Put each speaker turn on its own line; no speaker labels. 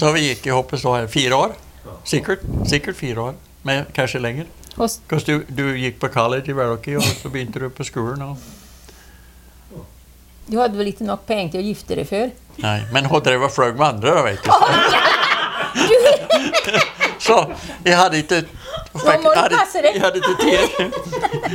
Så vi gick ihop och så här, fyra år. Säkert, säkert fyra år, men kanske längre.
Och s-
Fast du, du gick på college i Cherokee och så begynte du på skolan. Och,
du hade väl inte nog pengar till att gifta dig för?
nej, men hon drev och flög med andra, vet du. så jag hade inte...
Vad må det
jag hade-
passa dig?
Jag hade inte tid.